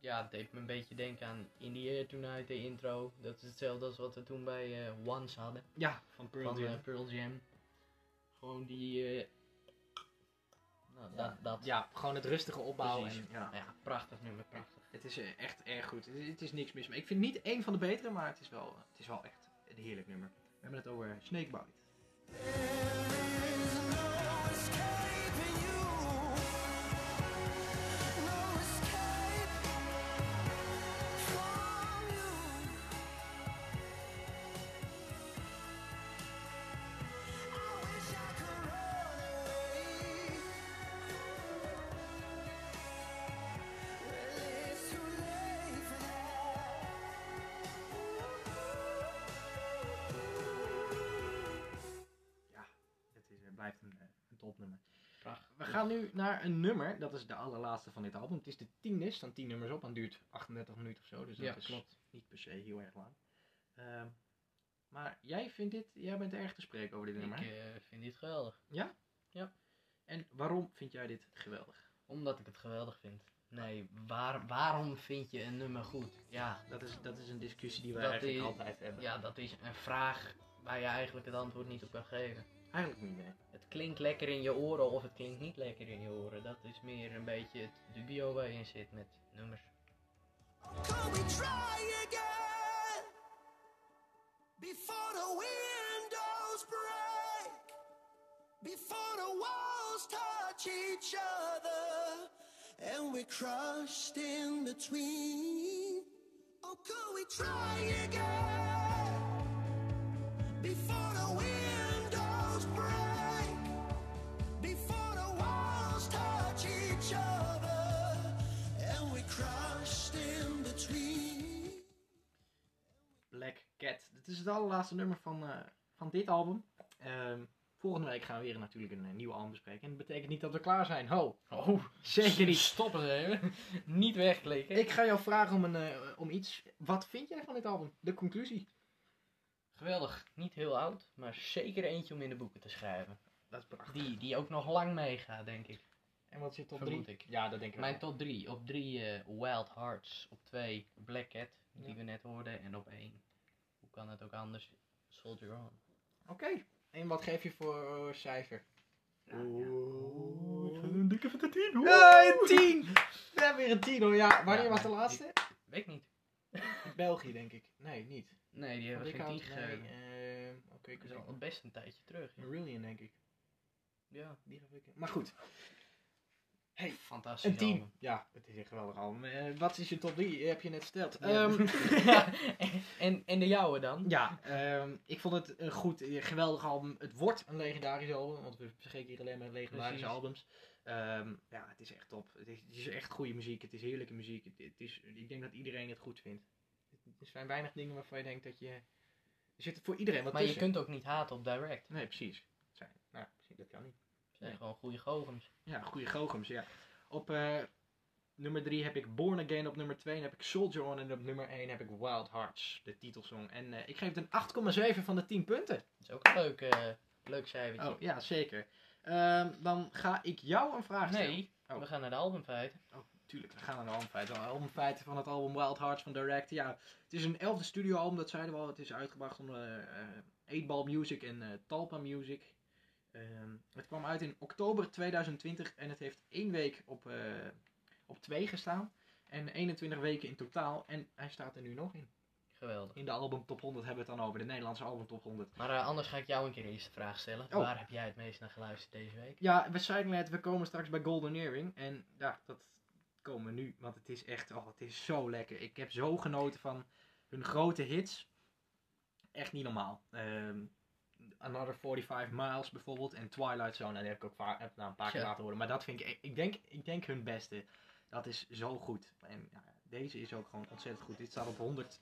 [SPEAKER 2] Ja, het deed me een beetje denken aan In the Air Tonight, de intro. Dat is hetzelfde als wat we toen bij eh, Once hadden.
[SPEAKER 1] Ja, van Pearl
[SPEAKER 2] van eh,
[SPEAKER 1] Jam.
[SPEAKER 2] Pearl Jam. Gewoon die... eh, nou,
[SPEAKER 1] Ja.
[SPEAKER 2] dat, dat.
[SPEAKER 1] ja, gewoon het rustige opbouwen.
[SPEAKER 2] Precies.
[SPEAKER 1] En, ja.
[SPEAKER 2] Ja, prachtig nummer, prachtig.
[SPEAKER 1] Het is eh, echt erg goed. Het is, het is niks mis mee. Ik vind het niet één van de betere, maar het is wel, het is wel echt een heerlijk nummer. We hebben het over Snakebite. Ja, het is, eh, blijft een, eh, een topnummer.
[SPEAKER 2] Prachtig.
[SPEAKER 1] We gaan nu naar een nummer. Dat is de allerlaatste van dit album. Het is de tiende. Er staan tien nummers op. En het duurt 38 minuten of zo. Dus dat
[SPEAKER 2] Ja,
[SPEAKER 1] is
[SPEAKER 2] klopt.
[SPEAKER 1] niet per se heel erg lang. Ehm, maar jij vindt dit... Jij bent erg te spreken over dit
[SPEAKER 2] Ik
[SPEAKER 1] nummer. hè?
[SPEAKER 2] eh, vind dit geweldig.
[SPEAKER 1] En waarom vind jij dit geweldig?
[SPEAKER 2] Omdat ik het geweldig vind. Nee, waar, waarom vind je een nummer goed? Ja,
[SPEAKER 1] Dat is, dat is een discussie die we
[SPEAKER 2] Dat
[SPEAKER 1] eigenlijk
[SPEAKER 2] is-
[SPEAKER 1] altijd hebben.
[SPEAKER 2] ja, dat is een vraag waar je eigenlijk het antwoord niet op kan geven.
[SPEAKER 1] Eigenlijk niet, nee.
[SPEAKER 2] Het klinkt lekker in je oren of het klinkt niet lekker in je oren. Dat is meer een beetje het dubio waar je in zit met nummers.
[SPEAKER 3] Can we try again before the windows break? Before the walls touch each other and we're crushed in between. Oh, could we try again before the windows break? before the walls touch each other and we crushed in between.
[SPEAKER 1] Black Cat. Dit is het allerlaatste nummer van, eh, van dit album. Ehm, volgende week gaan we weer natuurlijk een, eh, nieuw album bespreken. En dat betekent niet dat we klaar zijn. Ho,
[SPEAKER 2] Oh,
[SPEAKER 1] zeker niet.
[SPEAKER 2] [laughs] Stoppen ze even. niet wegklikken.
[SPEAKER 1] Ik ga jou vragen om, een, eh, om iets. Wat vind jij van dit album? De conclusie.
[SPEAKER 2] Geweldig. Niet heel oud, maar zeker eentje om in de boeken te schrijven.
[SPEAKER 1] Dat is prachtig.
[SPEAKER 2] Die, die ook nog lang meegaat, denk ik.
[SPEAKER 1] En wat is je top
[SPEAKER 2] Vermoed
[SPEAKER 1] 3?
[SPEAKER 2] ik.
[SPEAKER 1] Ja, dat denk ik
[SPEAKER 2] Mijn
[SPEAKER 1] wel.
[SPEAKER 2] top 3. Op 3 Wild Hearts. Op 2 Black Cat, die
[SPEAKER 1] Ja.
[SPEAKER 2] we net hoorden. En op 1, hoe kan het ook anders? Soldier On.
[SPEAKER 1] Oké. En wat geef je voor eh, cijfer?
[SPEAKER 2] Ja, ja.
[SPEAKER 1] een dikke vette 10 hoor. Ja, een 10! We hebben weer een 10 hoor. Ja, wanneer
[SPEAKER 2] Ja,
[SPEAKER 1] was de
[SPEAKER 2] maar
[SPEAKER 1] laatste?
[SPEAKER 2] Weet ik niet.
[SPEAKER 1] België denk ik. Nee, niet.
[SPEAKER 2] Nee, die hebben
[SPEAKER 1] Want ik
[SPEAKER 2] geen 10
[SPEAKER 1] houd-
[SPEAKER 2] gegeven.
[SPEAKER 1] nee, ehm, Oké, ik
[SPEAKER 2] Dat is
[SPEAKER 1] weet
[SPEAKER 2] al
[SPEAKER 1] niet.
[SPEAKER 2] best een tijdje terug. Ja.
[SPEAKER 1] Marillion denk ik.
[SPEAKER 2] ja.
[SPEAKER 1] Die gaf ik. Maar goed. Hey,
[SPEAKER 2] Fantastisch.
[SPEAKER 1] Een 10.
[SPEAKER 2] album.
[SPEAKER 1] Ja, het is een geweldig album. Eh, wat is je top 3? Heb je net verteld.
[SPEAKER 2] Ja. [laughs]
[SPEAKER 1] Ehm,
[SPEAKER 2] en, en de jouwe dan?
[SPEAKER 1] ja, ehm, ik vond het een goed, eh, geweldig album. Het wordt een legendarisch album, want we bespreken hier alleen maar legendarische
[SPEAKER 2] Precies.
[SPEAKER 1] albums. Ehm, ja, het is echt top. Het is, het is echt goede muziek. Het is heerlijke muziek. Het, het is, ik denk dat iedereen het goed vindt. Er zijn weinig dingen waarvan je denkt dat je... Er zit voor iedereen wat
[SPEAKER 2] maar je
[SPEAKER 1] tussen.
[SPEAKER 2] kunt ook niet haten op direct.
[SPEAKER 1] Nee, precies. Het Zijn, nou, precies, dat kan niet.
[SPEAKER 2] Het zijn gewoon goede gogens.
[SPEAKER 1] Ja, goede goochems, ja. Op eh, nummer 3 heb ik Born Again, op nummer 2 heb ik Soldier On en op nummer 1 heb ik Wild Hearts, de titelsong. En eh, ik geef het een 8,7 van de 10 punten.
[SPEAKER 2] Dat is ook een leuk, eh, leuk cijfertje.
[SPEAKER 1] Oh, ja, zeker. Ehm, dan ga ik jou een vraag stellen.
[SPEAKER 2] nee,
[SPEAKER 1] Oh.
[SPEAKER 2] we gaan naar de albumfeiten.
[SPEAKER 1] Tuurlijk, we gaan naar de albumfeiten. De albumfeiten van het album Wild Hearts van Direct. Ja, het is een elfde studioalbum, dat zeiden we al. Het is uitgebracht onder eh, eh, 8 Ball Music en eh, Talpa Music. Ehm, het kwam uit in oktober 2020 en het heeft één week op, eh, op twee gestaan. En 21 weken in totaal. En hij staat er nu nog in.
[SPEAKER 2] Geweldig.
[SPEAKER 1] In de album top 100 hebben we het dan over. De Nederlandse album top 100.
[SPEAKER 2] Maar eh, anders ga ik jou een keer eerst de vraag stellen.
[SPEAKER 1] Oh.
[SPEAKER 2] Waar heb jij het meest naar geluisterd deze week?
[SPEAKER 1] Ja, we zeiden net, we komen straks bij Golden Earring. En ja, dat komen we nu. Want het is echt, oh, het is zo lekker. Ik heb zo genoten van hun grote hits. Echt niet normaal. Ehm, Another 45 Miles bijvoorbeeld. En Twilight Zone. En die heb ik ook va- heb ik nou een paar keer
[SPEAKER 2] Ja.
[SPEAKER 1] laten horen. Maar dat vind ik, ik denk, ik denk hun beste. Dat is zo goed. En ja, deze is ook gewoon ontzettend goed. Dit staat op 100,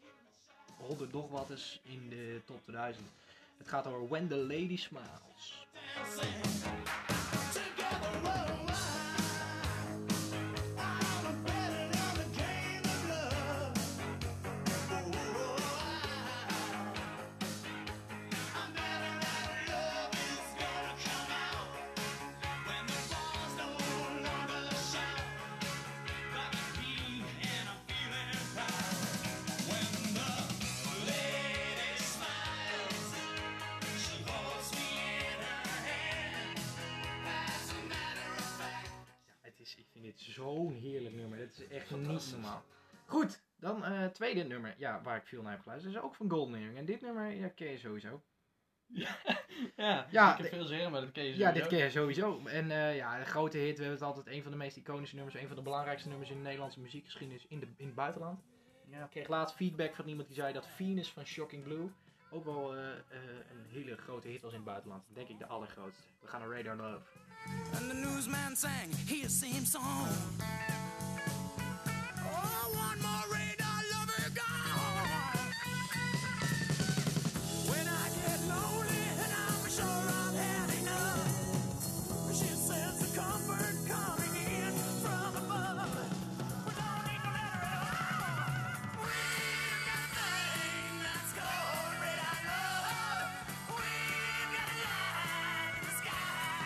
[SPEAKER 1] 100 nog wat eens in de top 2000. Het gaat over When the Lady Smiles. Het is, ik vind dit zo'n heerlijk nummer. Het is echt niet
[SPEAKER 2] Fantastisch.
[SPEAKER 1] normaal. Goed, dan eh tweede nummer. Ja, waar ik veel naar heb geluisterd. is ook van Golden Earring. En dit nummer ja, ken je sowieso.
[SPEAKER 2] Ja,
[SPEAKER 1] Ja,
[SPEAKER 2] ik
[SPEAKER 1] de-
[SPEAKER 2] heb veel zeggen, maar dat ken je
[SPEAKER 1] Ja, dit
[SPEAKER 2] sowieso.
[SPEAKER 1] ken je sowieso. En eh, ja, een grote hit. We hebben het altijd een van de meest iconische nummers. Een van de belangrijkste nummers in de Nederlandse muziekgeschiedenis in, de, in het buitenland.
[SPEAKER 2] Ja.
[SPEAKER 1] Ik kreeg laatst feedback van iemand die zei dat Venus van Shocking Blue ook wel eh, eh, een hele grote hit was in het buitenland. Denk ik de allergrootste. We gaan naar Radar Love.
[SPEAKER 3] And the newsman sang his same song. Oh, one more raid, I love her gone. When I get lonely and I'm sure I've had enough, she says the comfort coming in from above. We don't need no letter at all. We've got a thing that's called radar love. We've got a light in the sky.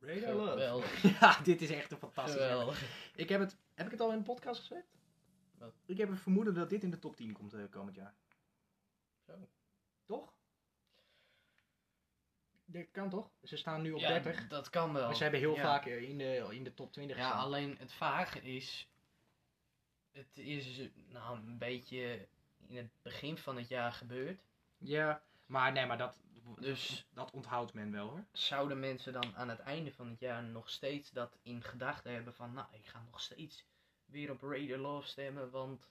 [SPEAKER 1] Radar
[SPEAKER 2] Geweldig.
[SPEAKER 1] [laughs] Ja, dit is echt een fantastisch nummer.
[SPEAKER 2] Geweldig.
[SPEAKER 1] Ik heb het. Heb ik het al in de podcast gezegd?
[SPEAKER 2] Wat?
[SPEAKER 1] Ik heb een vermoeden dat dit in de top 10 komt eh, komend jaar.
[SPEAKER 2] Zo.
[SPEAKER 1] Toch? Dat kan toch? Ze staan nu op
[SPEAKER 2] Ja,
[SPEAKER 1] 30.
[SPEAKER 2] dat kan wel.
[SPEAKER 1] Maar ze hebben heel
[SPEAKER 2] Ja.
[SPEAKER 1] vaak eh, in de, in de top 20
[SPEAKER 2] Ja,
[SPEAKER 1] gestaan.
[SPEAKER 2] alleen het vage is. Het is eh, nou een beetje in het begin van het jaar gebeurd.
[SPEAKER 1] Ja, maar nee, maar dat,
[SPEAKER 2] Dus
[SPEAKER 1] dat onthoudt men wel hoor.
[SPEAKER 2] zouden mensen dan aan het einde van het jaar nog steeds dat in gedachten hebben van, nou, ik ga nog steeds weer op Raider Love stemmen, want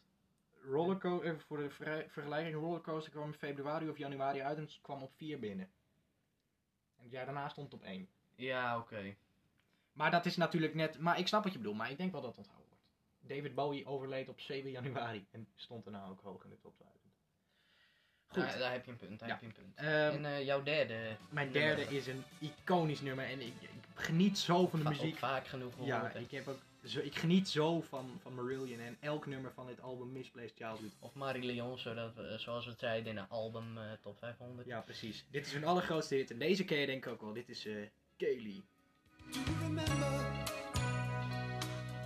[SPEAKER 1] Rollerco even voor de vrij- vergelijking, Rollercoaster kwam in februari of januari uit en kwam op 4 binnen. En het jaar daarna stond het op 1.
[SPEAKER 2] ja, oké.
[SPEAKER 1] Maar dat is natuurlijk net. Maar ik snap wat je bedoelt, maar ik denk wel dat het onthouden wordt. David Bowie overleed op 7 januari en stond daarna ook hoog in de top 1000. Goed.
[SPEAKER 2] Daar, daar heb je een punt, daar
[SPEAKER 1] Ja.
[SPEAKER 2] heb je een punt.
[SPEAKER 1] Ehm,
[SPEAKER 2] en eh, jouw derde
[SPEAKER 1] mijn derde is een iconisch nummer en ik, ik geniet zo van de
[SPEAKER 2] va-
[SPEAKER 1] muziek.
[SPEAKER 2] ook vaak genoeg gehoord.
[SPEAKER 1] Ja,
[SPEAKER 2] hè.
[SPEAKER 1] ik, heb ook zo, ik geniet zo van, van Marillion en elk nummer van dit album Misplaced Childhood.
[SPEAKER 2] Of Marie-Léon, zodat we, eh, zoals we het zeiden in een album eh, top 500.
[SPEAKER 1] Ja, precies. Dit is hun allergrootste hit en deze ken je denk ik ook wel. Dit is eh Kaylee.
[SPEAKER 3] Do you remember?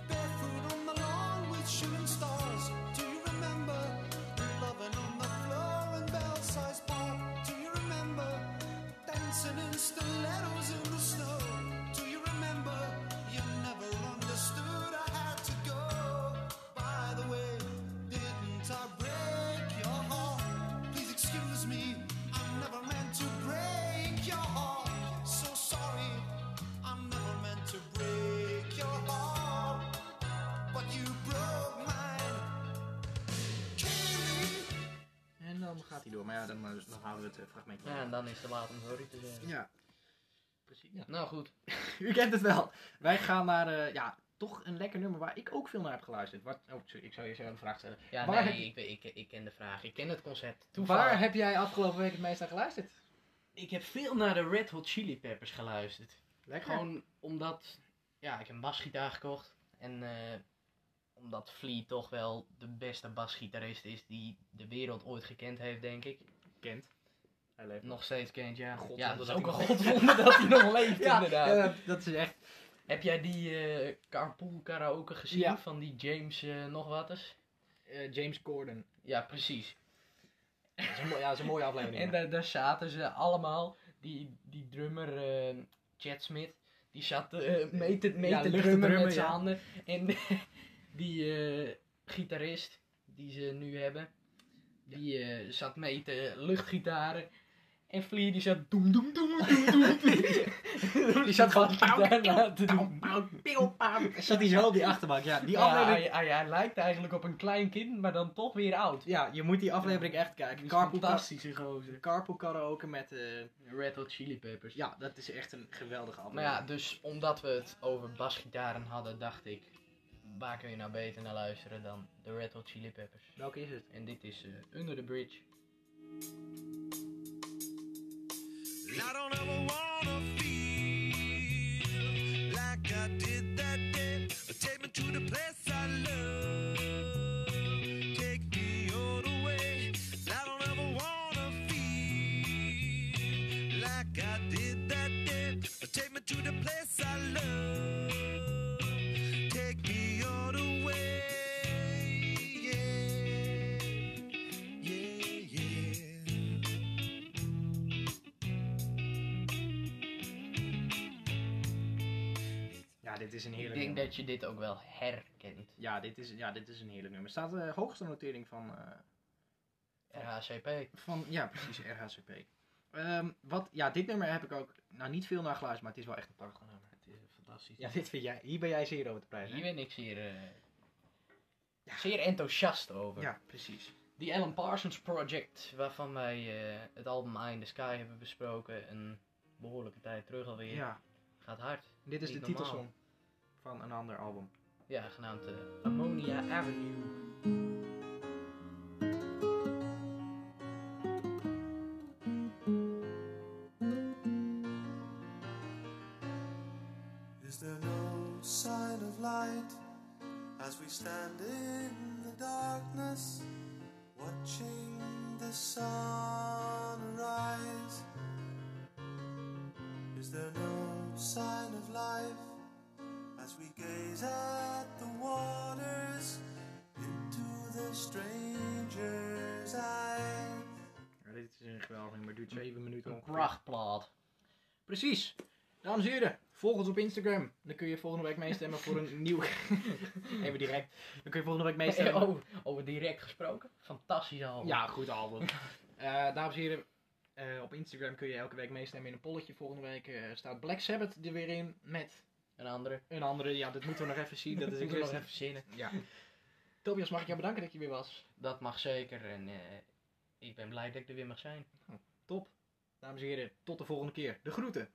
[SPEAKER 3] Barefoot on the lawn with shooting stars. Do you remember? Loving on the floor in Belsize Park. Do you remember? Dancing in stilettos in the snow. Do you remember? You never understood I had to go. By the way, didn't I break
[SPEAKER 1] hij door. Maar ja, dan, eh, dan houden we het eh, fragmentje.
[SPEAKER 2] Ja, en dan is het te laat om sorry te zeggen.
[SPEAKER 1] Ja. Precies. Ja.
[SPEAKER 2] Nou goed.
[SPEAKER 1] U kent het wel. Wij gaan naar, eh, ja, toch een lekker nummer waar ik ook veel naar heb geluisterd. Wat, oh, sorry, ik zou je zo een vraag stellen.
[SPEAKER 2] Ja,
[SPEAKER 1] Waar heb
[SPEAKER 2] nee,
[SPEAKER 1] je-
[SPEAKER 2] ik, weet- ik, ik ken de vraag. Ik ken het concept.
[SPEAKER 1] Waar
[SPEAKER 2] Toevallig.
[SPEAKER 1] heb jij afgelopen week het meest naar geluisterd?
[SPEAKER 2] Ik heb veel naar de Red Hot Chili Peppers geluisterd.
[SPEAKER 1] Lekker.
[SPEAKER 2] Gewoon omdat, ja, ik heb een basgitaar gekocht. En eh, omdat Flea toch wel de beste basgitarist is die de wereld ooit gekend heeft, denk ik.
[SPEAKER 1] kent. Hij leeft.
[SPEAKER 2] Nog steeds kent, ja.
[SPEAKER 1] Godzonde
[SPEAKER 2] ja, dat is
[SPEAKER 1] dat
[SPEAKER 2] ook een
[SPEAKER 1] hij
[SPEAKER 2] godzonde dat hij nog [laughs] leeft, inderdaad.
[SPEAKER 1] [laughs] ja, dat is echt.
[SPEAKER 2] Heb jij die eh, carpool karaoke gezien
[SPEAKER 1] Ja.
[SPEAKER 2] van die James eh, nog wat eens?
[SPEAKER 1] eh, James Corden.
[SPEAKER 2] Ja, precies.
[SPEAKER 1] Dat is een, mooi- ja, dat is een mooie aflevering.
[SPEAKER 2] En daar, daar zaten ze allemaal, die, die drummer eh, Chad Smith, die zat eh mee te, mee
[SPEAKER 1] Ja,
[SPEAKER 2] te
[SPEAKER 1] lucht te
[SPEAKER 2] drummen,
[SPEAKER 1] drummen,
[SPEAKER 2] met zijn
[SPEAKER 1] ja.
[SPEAKER 2] handen. En die eh, gitarist die ze nu hebben, die eh, zat mee te luchtgitaren. En Flea die zat doem doem doem doem doem. doem.
[SPEAKER 1] Die zat gewoon
[SPEAKER 2] Basgitaar na te doen.
[SPEAKER 1] Pauw, pauw, pil, pauw. Zat hij zo op die achterbank. Ja, die
[SPEAKER 2] Ja,
[SPEAKER 1] aflevering.
[SPEAKER 2] hij, hij, hij lijkt eigenlijk op een klein kind, maar dan toch weer oud.
[SPEAKER 1] Ja, je moet die aflevering echt
[SPEAKER 2] Die
[SPEAKER 1] kijken.
[SPEAKER 2] is
[SPEAKER 1] Carpool,
[SPEAKER 2] fantastische gozer.
[SPEAKER 1] carpool karaoke met... eh,
[SPEAKER 2] Red Hot Chili Peppers.
[SPEAKER 1] ja, dat is echt een geweldige
[SPEAKER 2] Maar
[SPEAKER 1] aflevering.
[SPEAKER 2] ja, dus omdat we het over basgitaren hadden, dacht ik, waar kun je nou beter naar luisteren dan de Red Hot Chili Peppers?
[SPEAKER 1] Welke is het?
[SPEAKER 2] En dit is eh, Under the Bridge.
[SPEAKER 3] I don't ever wanna feel like I did that day. Take me to the place I love. Take me all the way. I don't ever wanna feel like I did that day. Take me to the place I love. Take me all the way. Yeah, yeah, yeah.
[SPEAKER 1] Ja, dit is een
[SPEAKER 2] Ik
[SPEAKER 1] heerlijk
[SPEAKER 2] denk
[SPEAKER 1] nummer.
[SPEAKER 2] dat je dit ook wel herkent.
[SPEAKER 1] Ja, dit is, ja, dit is een heerlijk nummer. Staat de hoogste notering van... eh,
[SPEAKER 2] RHCP.
[SPEAKER 1] Van, ja, precies, RHCP. Ehm, wat, ja, dit nummer heb ik ook, nou niet veel naar geluisterd, maar het is wel echt een prachtig nummer.
[SPEAKER 2] Het is fantastisch.
[SPEAKER 1] Ja, dit vind jij, hier ben jij zeer over te prijzen.
[SPEAKER 2] Hier
[SPEAKER 1] hè?
[SPEAKER 2] ben ik zeer, eh,
[SPEAKER 1] Ja.
[SPEAKER 2] zeer enthousiast over.
[SPEAKER 1] Ja, precies.
[SPEAKER 2] Die Alan Parsons Project, waarvan wij eh, het album Eye in the Sky hebben besproken, een behoorlijke tijd terug alweer.
[SPEAKER 1] Ja,
[SPEAKER 2] Gaat hard.
[SPEAKER 1] dit is
[SPEAKER 2] Niet
[SPEAKER 1] de
[SPEAKER 2] normaal.
[SPEAKER 1] titelsong van een ander album.
[SPEAKER 2] Ja, genaamd eh, Ammonia Avenue.
[SPEAKER 3] Is there no sign of light as we stand in the darkness, watching the sun rise? Is there no sign of life as we gaze at the waters into the stranger's eyes?
[SPEAKER 1] Ja, dit is een geweldig nummer, duurt 7 minuten
[SPEAKER 2] Een
[SPEAKER 1] ongeveer.
[SPEAKER 2] prachtplaat.
[SPEAKER 1] Precies. Dames en heren, volg ons op Instagram. Dan kun je volgende week meestemmen voor [laughs] een nieuw... Even direct. Dan kun je volgende week [laughs] meestemmen.
[SPEAKER 2] Over, over direct gesproken. Fantastisch al.
[SPEAKER 1] Ja, goed [laughs] album. Eh, dames en heren, eh, op Instagram kun je elke week meestemmen in een polletje. Volgende week eh, staat Black Sabbath er weer in met
[SPEAKER 2] Een andere.
[SPEAKER 1] een andere. Ja, dat moeten we nog even zien. [laughs] Dat is een
[SPEAKER 2] Moeten we nog
[SPEAKER 1] kwestie.
[SPEAKER 2] even zinnen.
[SPEAKER 1] Ja. Tobias, mag ik jou bedanken dat je weer was?
[SPEAKER 2] Dat mag zeker. En eh, ik ben blij dat ik er weer mag zijn.
[SPEAKER 1] Top. Dames en heren, tot de volgende keer. De groeten.